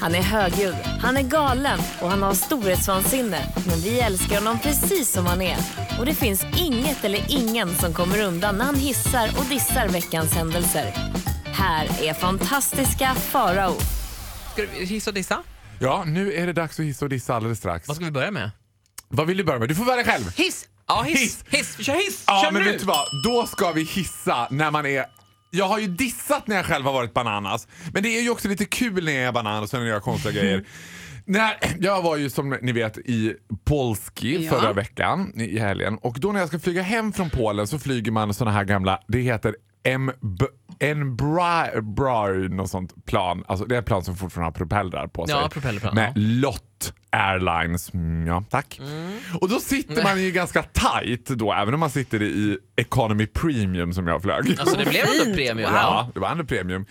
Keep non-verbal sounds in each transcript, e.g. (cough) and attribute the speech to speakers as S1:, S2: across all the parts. S1: Han är högljudd, han är galen och han har storhetsvansinne. Men vi älskar honom precis som han är. Och det finns inget eller ingen som kommer undan när han hissar och dissar veckans händelser. Här är fantastiska Farao.
S2: Ska vi hissa och dissa?
S3: Ja, nu är det dags att hissa och dissa alldeles strax.
S2: Vad ska vi börja med?
S3: Vad vill du börja med? Du får välja själv.
S2: Hiss! Ja, hiss!
S3: Hiss.
S2: Hiss! Vi kör hiss!
S3: Ja,
S2: kör
S3: men
S2: nu!
S3: vet du vad? Då ska vi hissa när man är... Jag har ju dissat när jag själv har varit bananas. Men det är ju också lite kul när jag är bananas och när jag gör konstiga (laughs) grejer. När, jag var ju som ni vet i Polski
S2: Ja.
S3: förra veckan i i helgen. Och då när jag ska flyga hem från Polen så flyger man såna här gamla, det heter MB, Embraer, något sånt plan. Alltså det är ett plan som fortfarande har propellrar på sig.
S2: Ja, propellerplan,
S3: Med
S2: ja.
S3: Lott Airlines. Mm, ja, tack. Och då sitter man ju ganska tight då, även om man sitter i Economy Premium som jag flög.
S2: Alltså det blev ändå premium.
S3: Ja, det var ändå premium.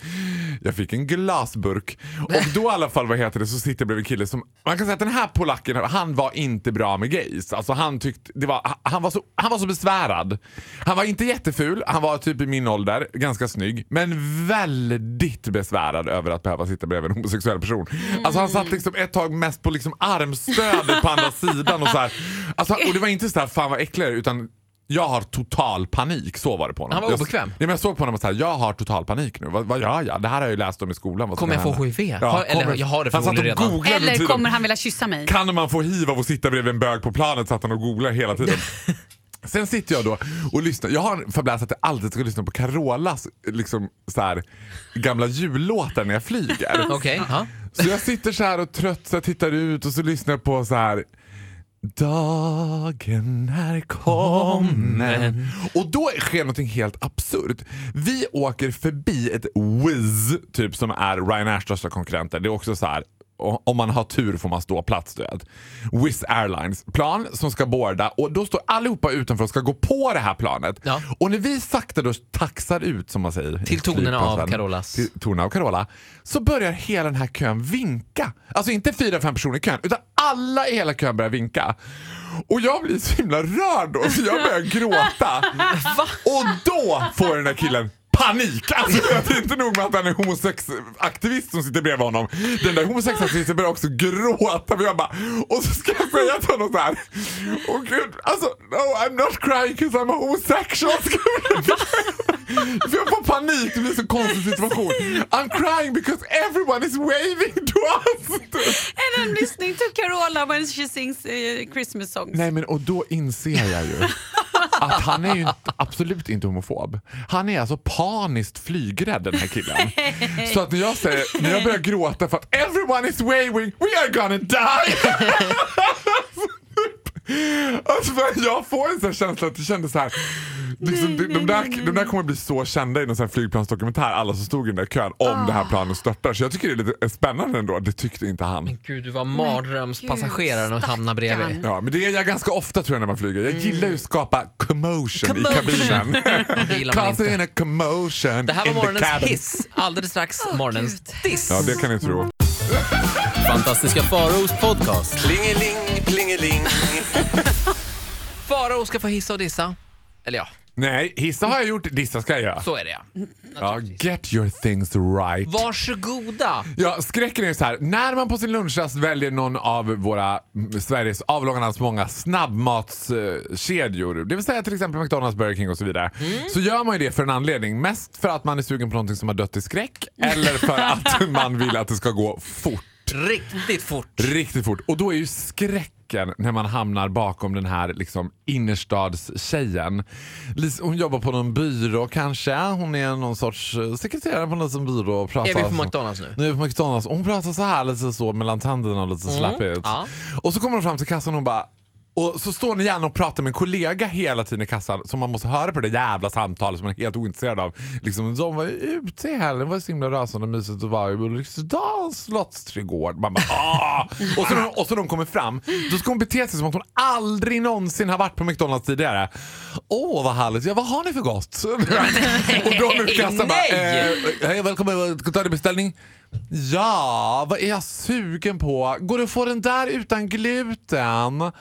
S3: Jag fick en glasburk. Och då i alla fall, vad heter det, så sitter jag bredvid en kille som... Man kan säga att den här polacken, han var inte bra med gays. Alltså han tyckte... Det var, han, var så, han var så besvärad. Han var inte jätteful, han var typ i min ålder, ganska snygg. Men väldigt besvärad över att behöva sitta bredvid en homosexuell person. Alltså han satt liksom ett tag mest på liksom armstödet på andra sidan och så här. Alltså, och det var inte så här, fan vad äckligare, utan jag har total panik. Så var det på honom.
S2: Han var
S3: Jag-
S2: obekväm.
S3: Nej, men jag såg på honom och sa jag har total panik nu. Vad, vad gör jag? Det här har jag ju läst om i skolan. Vad ska
S2: Kommer jag
S3: hända?"
S2: få HIV? Har- eller jag har det
S3: han satt och
S2: förmodligen redan.
S3: googlade under
S4: Eller
S3: tiden.
S4: kommer han vilja kyssa mig?
S3: Kan man få hiv av att sitta bredvid en bög på planet? Satt han och googlade
S2: (laughs)
S3: hela tiden. Sen sitter jag då och lyssnar. Jag har en förbläst att jag alltid ska lyssna på Carolas liksom, så här, gamla jullåtar när jag flyger.
S2: (laughs) Okej, ja.
S3: Så jag sitter så här och trött så jag tittar ut och så lyssnar jag på så här. Dagen är kommen. Och då sker någonting helt absurt. Vi åker förbi ett Wizz, typ som är Ryanairs största konkurrenter. Det är också så här. o- Om man har tur får man stå plats, du vet. Wizz Airlines plan som ska boarda och då står allihopa utanför och ska gå på det här planet.
S2: Ja.
S3: Och när vi sakta då taxar ut som man säger. i
S2: Till tonerna av
S3: flygplansvärlden,
S2: Carolas.
S3: Typ alltså. till- Torna och Carola, så börjar hela den här kön vinka. Alltså inte fyra, fem personer i kön, utan alla i hela kön börjar vinka. Och jag blir så himla rörd då, så jag
S2: (laughs)
S3: börjar gråta. Och då får den här killen panik! Alltså det är inte nog med att han är homosexaktivist som sitter bredvid honom. Den där homosexaktivisten börjar också gråta. Och, jag bara, och så ska jag säga till honom så här. Åh gud, alltså no I'm not crying cause I'm homosexual. Ska jag för jag får panik, det blir en så konstig situation. I'm crying because everyone is waving to us.
S4: And I'm listening to Carola when she sings eh, Christmas songs.
S3: Nej men och då inser jag ju att han är ju inte, absolut inte homofob. Han är alltså paniskt flygrädd den här killen. Så att när jag säger, när jag börjar gråta för att everyone is waving, we are gonna die. Alltså för jag får en sån här känsla att det kändes så här. Liksom, de, de, där, de där kommer bli så kända i någon sån här flygplansdokumentär, alla som stod i den där kön, om det här planet störtar. Så jag tycker det är lite spännande ändå. Det tyckte inte han.
S2: Gud, du var mardrömspassageraren och hamnade bredvid.
S4: stackarn.
S3: Ja, men det är jag ganska ofta tror jag när man flyger. Jag gillar ju att skapa commotion, i kabinen.
S2: Det Mm. (laughs) gillar man
S3: Cause in
S2: inte.
S3: a commotion
S2: Det här var
S3: in the
S2: morgonens
S3: cabin.
S2: hiss. Alldeles strax morgonens diss.
S3: Ja, det kan ni tro.
S5: Fantastiska Faros podcast.
S6: Plingeling, plingeling.
S2: Farao ska få hissa och dissa. Eller ja,
S3: Nej, hissa har jag gjort, dissa ska jag göra.
S2: så är det ja.
S3: Ja, get your things right.
S2: Varsågoda.
S3: Ja, skräcken är ju så här. När man på sin lunchrast väljer någon av våra mm, Sveriges avlånga lands många snabbmatskedjor, det vill säga till exempel McDonalds, Burger King och så vidare,
S2: Mm.
S3: så gör man ju det för en anledning. Mest för att man är sugen på någonting som har dött
S2: (laughs)
S3: i skräck eller för att man vill att det ska gå fort.
S2: Riktigt fort.
S3: Riktigt fort. Och då är ju skräcken när man hamnar bakom den här liksom, innerstadstjejen. Lis- Hon jobbar på någon byrå kanske. Hon är någon sorts eh, sekreterare på någon liten byrå. Och pratar
S2: Är vi på McDonalds nu? Mm.
S3: nu är vi på McDonalds. Och Hon pratar så här lite så mellan tänderna och lite slappigt.
S2: ja.
S3: Och så kommer hon fram till kassan och hon bara och så står ni gärna och pratar med en kollega hela tiden i kassan som man måste höra på det jävla samtalet som man är helt ointresserad av. Liksom, de var ju ute i helgen, det var ju så himla rösande och liksom, mysigt att vara i Ulriksdals slottsträdgård. Man bara
S2: (laughs)
S3: "Ah!" och, så, när hon- och så när hon kommer fram, då ska hon bete sig som att hon aldrig någonsin har varit på McDonalds tidigare. Åh vad härligt, ja vad har ni för gott? (laughs) och då nu kassan bara,
S2: Nej!
S3: eh, Hej, välkommen. Ska ta din beställning? Ja, vad är jag sugen på? Går det att få den där utan gluten?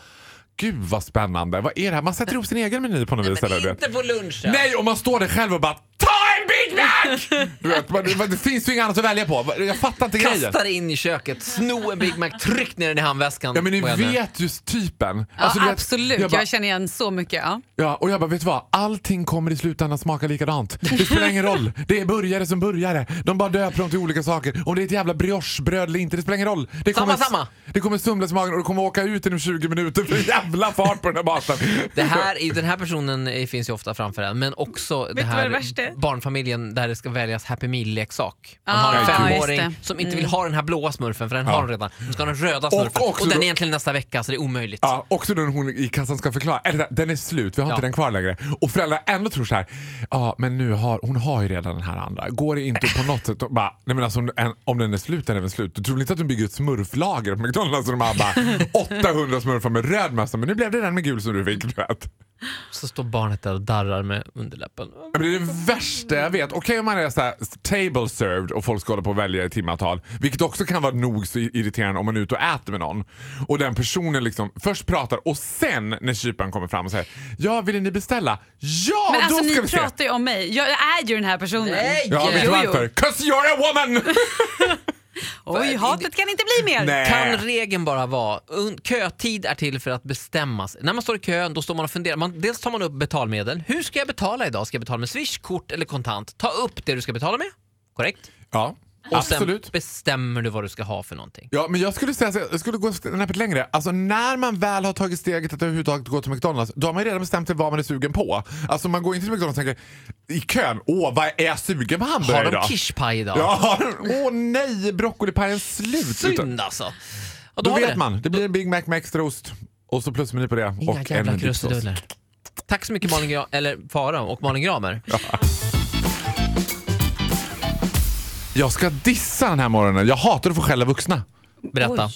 S3: Gud vad spännande. Vad är det här? Man sätter ihop sin egen meny på något vis. eller, du vet.
S2: Inte på lunchen.
S3: Nej, och man står där själv och bara ta en Big
S4: (laughs)
S3: Mac! Du vet, man- man- det finns ju inget annat att välja på. Jag fattar inte grejen.
S2: Kasta dig in i köket, sno en Big Mac, tryck ner den i handväskan.
S3: Ja men ni
S2: Vad är det?
S3: vet ju typen.
S4: Ja,
S3: Alltså, du vet,
S4: absolut,
S3: Jag
S4: jag,
S3: bara,
S4: känner igen så mycket. Ja.
S3: ja, och jag bara, vet du vad? Allting kommer i slutändan smaka likadant. Det spelar ingen roll. Det är burgare som burgare. De bara döper dem till olika saker. Om det är ett jävla briochebröd eller inte, det spelar ingen roll. Det
S2: Samma,
S3: kommer,
S2: samma.
S3: Det kommer sumlas i magen och det kommer åka ut inom 20 minuter för jävla fart på den här maten.
S2: Det här, är- den här personen eh, finns ju ofta framför en, men också det
S4: du vad
S2: här
S4: det värsta är?
S2: barnfamiljen där det ska väljas Happy Meal-leksak. Man
S4: Ah,
S2: har en
S4: ja,
S2: femåring
S4: just det.
S2: som inte vill ha den här blåa smurfen, för den har hon redan. Hon ska ha den röda smurfen, och,
S3: också
S2: den
S3: då-
S2: är egentligen nästa vecka, så det är omöjligt.
S3: Ja, också när hon i kassan ska förklara. Eller, vänta, den är slut, vi har inte
S2: Ja.
S3: den kvar längre. Och föräldrarna ändå tror så här. Ja, men nu har, hon har ju redan den här andra. Går det inte på något sätt och bara, nej men alltså om, en, om den är slut, den är väl slut. Du tror väl inte att de bygger ett smurflager på McDonalds och de har bara 800 smurfar med röd mössa, men nu blev det den med gul som du fick. Du vet.
S2: Så står barnet där och darrar med underläppen.
S3: Ja, men Det är det värsta jag vet. Okej om man är så här, table served och folk ska hålla på och välja i timmatal. Vilket också kan vara nog så irriterande om man är ute och äter med någon. Och den personen liksom först pratar och sen när kyparen kommer fram och säger Ja, ville ni beställa? Ja,
S4: Men
S3: då
S4: alltså
S3: ska
S4: ni
S3: vi se!
S4: pratar ju om mig, jag är ju den här personen.
S2: Nej!
S3: Ja, vet du
S4: Jo, jo.
S3: varför? 'Cause you're a woman! (laughs)
S4: Oj, hatet kan inte bli mer.
S3: Nej.
S2: Kan regeln bara vara, un- kötid är till för att bestämmas. När man står i kön då står man och funderar. Man, dels tar man upp betalmedel. Hur ska jag betala idag? Ska jag betala med swish, kort eller kontant? Ta upp det du ska betala med. Korrekt.
S3: ja,
S2: Och
S3: absolut.
S2: sen bestämmer du vad du ska ha för någonting.
S3: Ja, men jag skulle säga så, jag skulle gå snäppet längre. Alltså när man väl har tagit steget att överhuvudtaget gå till McDonalds, då har man ju redan bestämt sig vad man är sugen på. Alltså man går inte till McDonalds och tänker i kön, åh vad är jag sugen på hamburgare
S2: Har de
S3: idag?
S2: kishpaj idag?
S3: Ja, har de- åh nej, broccolipajen slut. Utan,
S2: Synd alltså. Ja,
S3: då
S2: har vi
S3: vet
S2: det.
S3: man, det blir en Big Mac med extra ost och så plusmeny på det.
S2: Inga
S3: och
S2: jävla
S3: en dipsås.
S2: krusiduller. Tack så mycket Malin Gra- eller Farao och Malin Gramer.
S3: Jag ska dissa den här morgonen, jag hatar att få skälla vuxna.
S2: Berätta.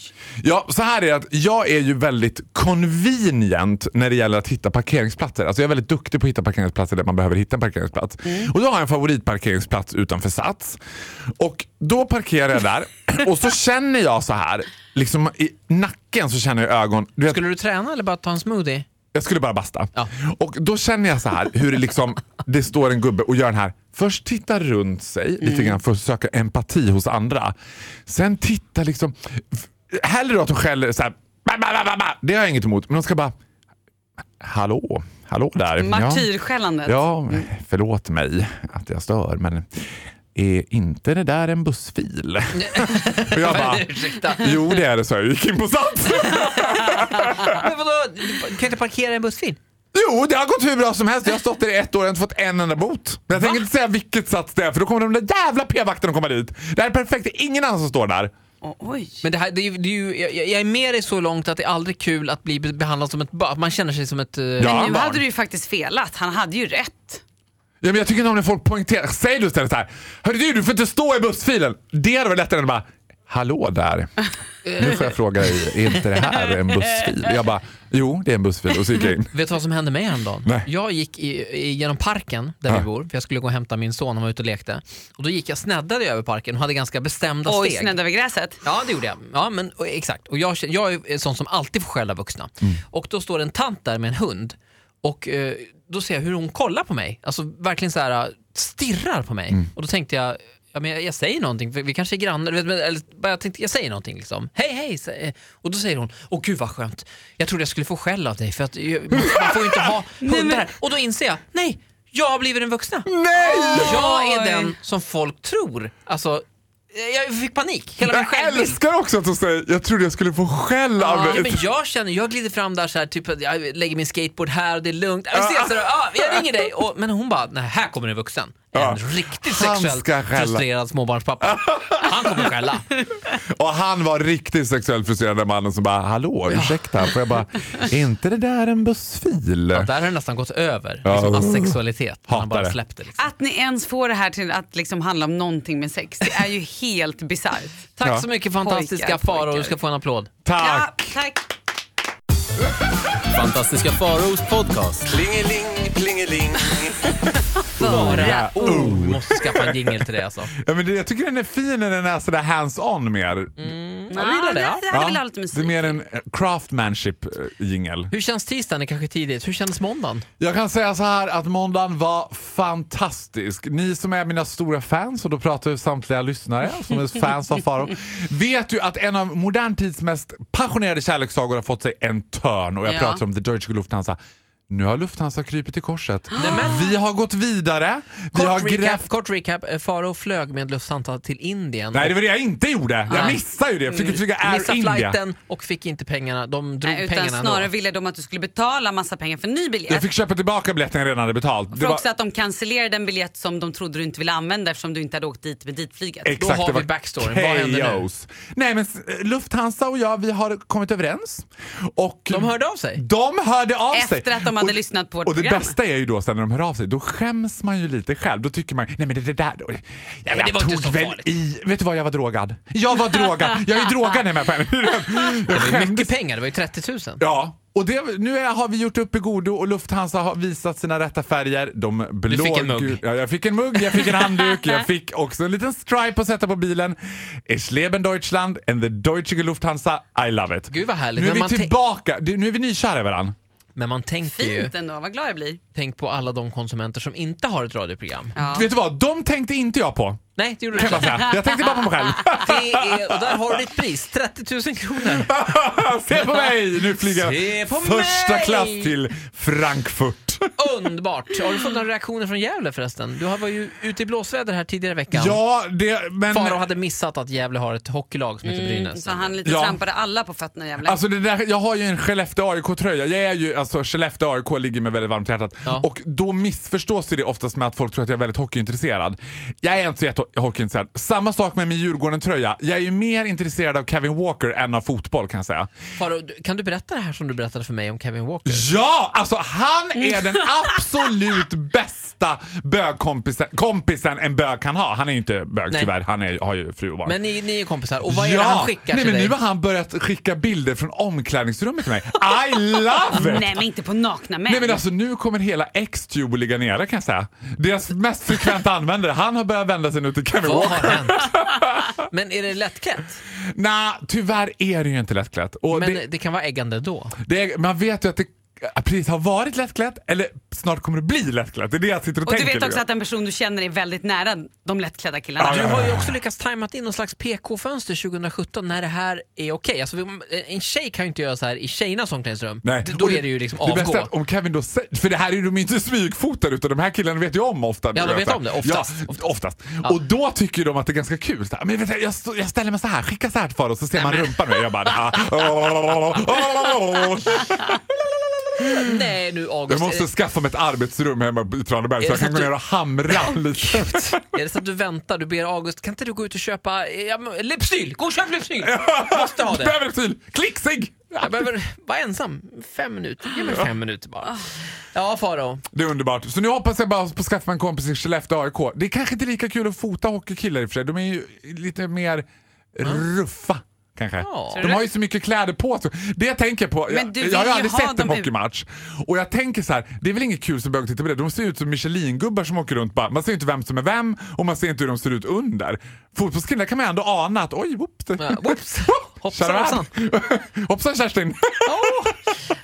S3: Ja, så här är det att jag är ju väldigt convenient när det gäller att hitta parkeringsplatser. Alltså jag är väldigt duktig på att hitta parkeringsplatser där man behöver hitta en parkeringsplats. Och då har jag en favoritparkeringsplats utanför Sats. Och då parkerar jag där och så känner jag så här, liksom i nacken så känner jag ögon. Du vet,
S2: Skulle du träna eller bara ta en smoothie?
S3: jag skulle bara basta.
S2: Ja.
S3: Och då känner jag så här hur det liksom, det står en gubbe och gör den här. Först titta runt sig lite grann för att söka empati hos andra. Sen titta liksom, f- hellre då att de skäller så här, "Ba, ba, ba, ba, ba." det har jag inget emot. Men de ska bara, hallå, hallå där. Ja.
S4: Martyrskällandet.
S3: Ja, förlåt mig att jag stör men är inte det där en bussfil? Och
S2: (laughs)
S3: jag bara,
S2: Ursäkta.
S3: jo det är det så jag gick in på Sats.
S2: Men vadå? Du kan inte parkera i en bussfil?
S3: Jo, det har gått hur bra som helst. Jag har stått där i ett år och inte fått en enda bot. Men jag tänker inte säga vilket sats det är för då kommer de där jävla p-vakterna komma dit. Det här är perfekt, det är ingen annan som står där.
S4: Åh, Oj.
S2: Men det här, det är, ju- det är ju, jag, jag är med dig så långt att det är aldrig kul att bli be- behandlad som ett barn. Att Man känner sig som ett... eh,
S3: Ja.
S4: Men nu
S3: barn.
S4: hade du ju faktiskt felat, han hade ju rätt.
S3: Ja, men jag tycker inte om när folk poängterar. Säg du istället så här. Hörru du, du får inte stå i bussfilen. Det hade varit lättare än att bara, hallå där. Nu får jag fråga dig, är inte det här en bussfil? Jag bara, jo det är en bussfil. Och så gick jag in.
S2: Vet du vad som hände mig häromdagen?
S3: Nej.
S2: Jag gick i, i, genom parken där
S3: Ja.
S2: vi bor, för jag skulle gå och hämta min son, han var ute och lekte. Och då gick jag, sneddade jag över parken och hade ganska bestämda
S4: Oj,
S2: steg.
S4: snedde över gräset.
S2: Ja, det gjorde jag. Ja, men, och, exakt. Och jag, jag är en sån som alltid får skälla vuxna.
S3: Mm.
S2: Och då står en tant där med en hund och eh, då ser jag hur hon kollar på mig. Alltså verkligen så här eh, stirrar på mig.
S3: Mm.
S2: Och då tänkte jag, ja, men jag, jag säger någonting, för vi kanske är grannar. du vet, men- Eller, bara jag, tänkte, jag säger någonting liksom. Hej, hej! sä- eh. Och då säger hon, åh gud vad skönt. Jag trodde jag skulle få skäll av dig för att eh, man, man får ju inte
S3: (laughs)
S2: ha hundar här. Och då inser jag, nej! Jag har blivit den vuxna.
S3: Nej!
S2: Jag är
S4: Oj.
S2: den som folk tror. Alltså, eh, jag fick panik. Hela min
S3: Jag
S2: självbild
S3: älskar också att de säger, jag trodde jag skulle få skäll av
S2: Ja,
S3: dig.
S2: men jag känner, jag glider fram där så här, typ att jag lägger min skateboard här och det är lugnt. Ja, vi ses då. Ja, jag ringer dig. Och, men hon bara, nej här kommer en vuxen. En
S3: Ja.
S2: riktigt
S3: Han
S2: sexuellt
S3: ska skälla.
S2: frustrerad småbarnspappa. Han kommer skälla.
S3: Och han var riktigt sexuellt frustrerad den mannen som bara hallå ursäkta får jag bara är inte det där en bussfil?
S2: Där har det nästan gått över.
S3: Ja.
S2: Liksom asexualitet.
S3: Hatar
S2: Han bara
S3: det.
S2: släppte liksom.
S4: Att ni ens får det här till att liksom handla om någonting med sex, det är ju helt bisarrt.
S2: Tack
S3: Ja.
S2: så mycket fantastiska
S4: Pojkar,
S2: Farao. Du
S4: pojkar.
S2: ska få en applåd.
S4: Ja,
S3: Tack!
S4: tack.
S5: Fantastiska Faraos podcast.
S6: Plingeling, plingeling.
S2: Bara, oh, måste skaffa en jingel till det alltså.
S3: Ja, men det, jag tycker den är fin när den är sådär hands-on mer.
S2: Ja, vi gillar det. Ja.
S4: Mm. det här vill ha lite
S3: det är
S4: musik.
S3: mer en eh, craftmanship jingel.
S2: Hur känns tisdagen? Det är kanske tidigt. Hur känns måndagen?
S3: Jag kan säga så här att måndagen var fantastisk. Ni som är mina stora fans, och då pratar jag samtliga lyssnare som är fans av Faro, vet ju att en av modern tids mest passionerade kärlekssagor har fått sig en törn. Och jag
S4: Ja.
S3: pratar om The Deutsche Lufthansa. Nu har Lufthansa krypit
S2: (gasps)
S3: i korset. Vi har gått vidare. Vi har
S2: Kort
S3: grävt
S2: recap, kort recap. Eh, Faro flög med Lufthansa till Indien.
S3: Nej, det var det jag inte gjorde. Jag
S2: Nej.
S3: missade ju det. Jag fick flyga Air
S2: Missade
S3: India.
S2: flighten och fick inte pengarna. De drog
S4: Nej, utan
S2: pengarna
S4: snarare
S2: ändå.
S4: ville de att du skulle betala massa pengar för en ny biljett.
S3: Jag fick köpa tillbaka biljetten jag redan hade betalt.
S4: För också att de cancellerade en biljett som de trodde du inte ville använda eftersom du inte hade åkt dit med ditflyget.
S3: Exakt,
S2: har
S3: det
S2: vi
S3: var
S2: backstoryn. Vad händer nu?
S3: kaos. Nej, men eh, Lufthansa och jag, vi har kommit överens. Och
S2: De hörde av sig.
S3: De hörde av sig.
S4: Efter att de hade lyssnat på vårt
S3: Och det
S4: program.
S3: bästa är ju då sen när de hör av sig, då skäms man ju lite själv. Då tycker man, nej men det, det där, då, jag,
S2: det var
S3: tog
S2: inte så
S3: väl
S2: farligt."
S3: i. Vet du vad, jag var drogad. Jag var drogad. Jag
S2: (laughs)
S3: är drogad när jag är på henne. Jag
S2: Det var
S3: skämdes
S2: mycket pengar. Det var ju 30 000.
S3: Ja, och det, nu är, har vi gjort upp i godo och Lufthansa har visat sina rätta färger. De blå,
S2: fick en mugg.
S3: gul- Ja, jag fick en mugg, jag fick en handduk,
S2: (laughs)
S3: jag fick också en liten stripe att sätta på bilen. Ich leben Deutschland and the deutsche Lufthansa, I love it.
S2: Gud, vad härligt.
S3: Nu
S2: Men
S3: är vi
S2: man tänk-
S3: tillbaka, Du, nu är vi nykära i varandra.
S2: Men man tänker ju,
S4: Fint ändå, vad glad jag blir.
S2: tänk på alla de konsumenter som inte har ett radioprogram.
S4: Ja.
S3: Vet du vad, de tänkte inte jag på.
S2: Nej, det gjorde du
S3: Kan jag, bara
S2: inte.
S3: säga. jag tänkte bara på mig själv. (laughs)
S2: Det är, och där har du ditt pris, 30 000 kronor.
S3: Se på mig! Nu flyger
S2: Se
S3: jag
S2: på
S3: första
S2: mig!
S3: klass till Frankfurt.
S2: Underbart! Har du fått några reaktioner från Gävle förresten? Du var ju ute i blåsväder här tidigare i veckan.
S3: Ja, det, men... Mm,
S2: Faro hade missat att Gävle har ett hockeylag som heter Brynäs.
S4: Så han lite
S3: Ja.
S4: trampade alla på fötterna jävlar.
S3: Alltså det där, jag har ju en Skellefteå AIK-tröja. Jag är ju, alltså Skellefteå AIK ligger mig väldigt varmt i hjärtat.
S2: Ja.
S3: Och då missförstås ju det oftast med att folk tror att jag är väldigt hockeyintresserad. Jag är inte så jättehockeyintresserad. Samma sak med min Djurgården-tröja. Jag är ju mer intresserad av Kevin Walker än av fotboll kan jag säga.
S2: Faro, du- kan du berätta det här som du berättade för mig om Kevin Walker?
S3: Ja! Alltså han
S2: Mm.
S3: är den
S2: (laughs)
S3: absolut bästa bögkompisen kompisen en bög kan ha. Han är ju inte bög
S2: Nej.
S3: tyvärr. Han är, har ju fru och barn.
S2: Men ni, ni är kompisar, och vad är det han skickar
S3: Nej,
S2: till
S3: men
S2: dig?
S3: Nu har han börjat skicka bilder från omklädningsrummet till mig. I love it!
S4: Nej men inte på nakna män.
S3: Nej men alltså nu kommer hela X-Tube att ligga nere kan jag säga. Deras mest frekventa användare, han har börjat vända sig nu till Kevin
S2: Vad
S3: Walker.
S2: har hänt? (laughs) Men är det lättklätt?
S3: Nej, tyvärr är det ju inte lättklätt. Och
S2: Men
S3: det,
S2: det kan vara äggande då.
S3: det, är- man vet ju att det precis har varit lättklätt, eller snart kommer det bli lättklätt. Det är det jag sitter och,
S4: och du
S3: tänker.
S4: vet
S3: nu.
S4: också att en person du känner är väldigt nära de lättklädda killarna.
S3: Ja,
S2: Du
S3: ja.
S2: har ju också lyckats tajmat in någon slags PK-fönster 2017 när det här är okej. Alltså, vi- en tjej kan ju inte göra så här i tjejernas omklädningsrum.
S3: Nej.
S2: D- Då
S3: Och
S2: är det ju liksom
S3: Det bästa är
S2: avgå.
S3: att om Kevin då sä- för det här är ju de inte smygfotade utan de här killarna vet ju om ofta.
S2: Ja, de vet om det, oftast.
S3: Ja, oftast. Och då tycker ju de att det är ganska kul. Så här, men vet du, jag, stå- jag ställer mig så här, skicka så här till far och så ser man rumpan nu. Jag bara... ah.
S2: Nej nu August.
S3: Jag måste skaffa mig ett arbetsrum hemma i Traneberg
S2: Är
S3: så
S2: det
S3: jag kan
S2: så
S3: gå
S2: att
S3: ner
S2: du-
S3: och hamra lite.
S2: Är det så att du väntar, du ber August, kan inte du gå ut och köpa eh, ja, men, Lypsyl? Gå och köp Lypsyl! Måste ha (laughs) det.
S3: Behöver till klicksig!
S2: Jag behöver vara ensam fem minuter. Ge mig fem minuter bara. Ja Faro.
S3: Det är underbart. Så nu hoppas jag bara på att skaffa mig en kompis i Skellefteå AIK. Det är kanske inte lika kul att fota hockeykillar i och för sig. De är ju lite mer ruffa. Kanske.
S2: Ja.
S3: De har ju så mycket kläder på sig. Det jag tänker på,
S4: Men du
S3: jag,
S4: vill
S3: jag har ju
S4: ju
S3: aldrig
S4: ha
S3: sett en
S4: dem ut.
S3: hockeymatch. Och jag tänker så här, det är väl inget kul som bög att titta på det. De ser ut som Michelin-gubbar som åker runt bara. Man ser inte vem som är vem och man ser inte hur de ser ut under. Fotbollskillar kan man ju ändå ana att oj, (laughs) whoops.
S2: Ja, whoops. Hoppsan,
S3: Tjena.
S2: hoppsan.
S3: (laughs) Hoppsan Kerstin!
S2: Åh!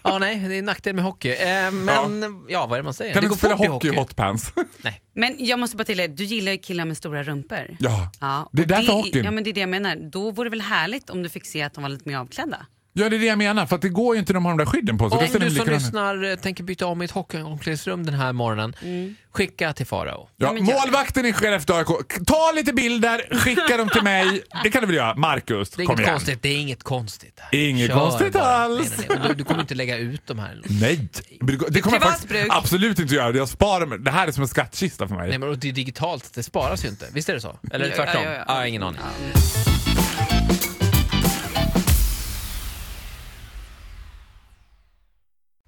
S2: Ja nej, det är nackdel med hockey. Eh, men ja. vad är det man säger?
S3: Kan du
S2: går
S3: inte spela
S2: fort i
S3: hockey i hotpants?
S2: Nej.
S4: Men jag måste bara tillägga, du gillar ju killar med stora rumpor.
S3: (laughs) Ja,
S4: och
S3: det är därför hockeyn.
S4: Ja men det är det jag menar. Då vore det väl härligt om du fick se att de var lite mer avklädda.
S3: Ja, det är det jag menar. För att det går ju inte när de har de där skydden på sig. Då
S2: Om
S3: ser det
S2: du som
S3: likadant ut.
S2: lyssnar eh, tänker byta om i ett hockeyomklädningsrum den här morgonen, skicka till Farao.
S3: Ja,
S4: Mm. men gör det.
S3: målvakten i Skellefteå AIK. Ta lite bilder, skicka dem till mig. Det kan du väl göra? Markus,
S2: Det är
S3: kom
S2: inget
S3: igen.
S2: konstigt. Det är inget konstigt. där.
S3: Inget
S2: Kör
S3: konstigt
S2: bara.
S3: alls.
S2: Nej, nej, nej. Och Du, du kommer inte lägga ut de
S3: (laughs)
S2: här.
S3: Nej, det går- det kommer jag
S4: Privat
S3: faktiskt
S4: bruk.
S3: absolut inte göra. Jag sparar mig. Det här är som en skattkista för mig.
S2: Nej, men och det är digitalt, det sparas ju inte. Visst är det så? Eller
S4: Ja,
S2: tvärtom?
S4: ja,
S2: Ja,
S4: ja, ja.
S2: ingen aning.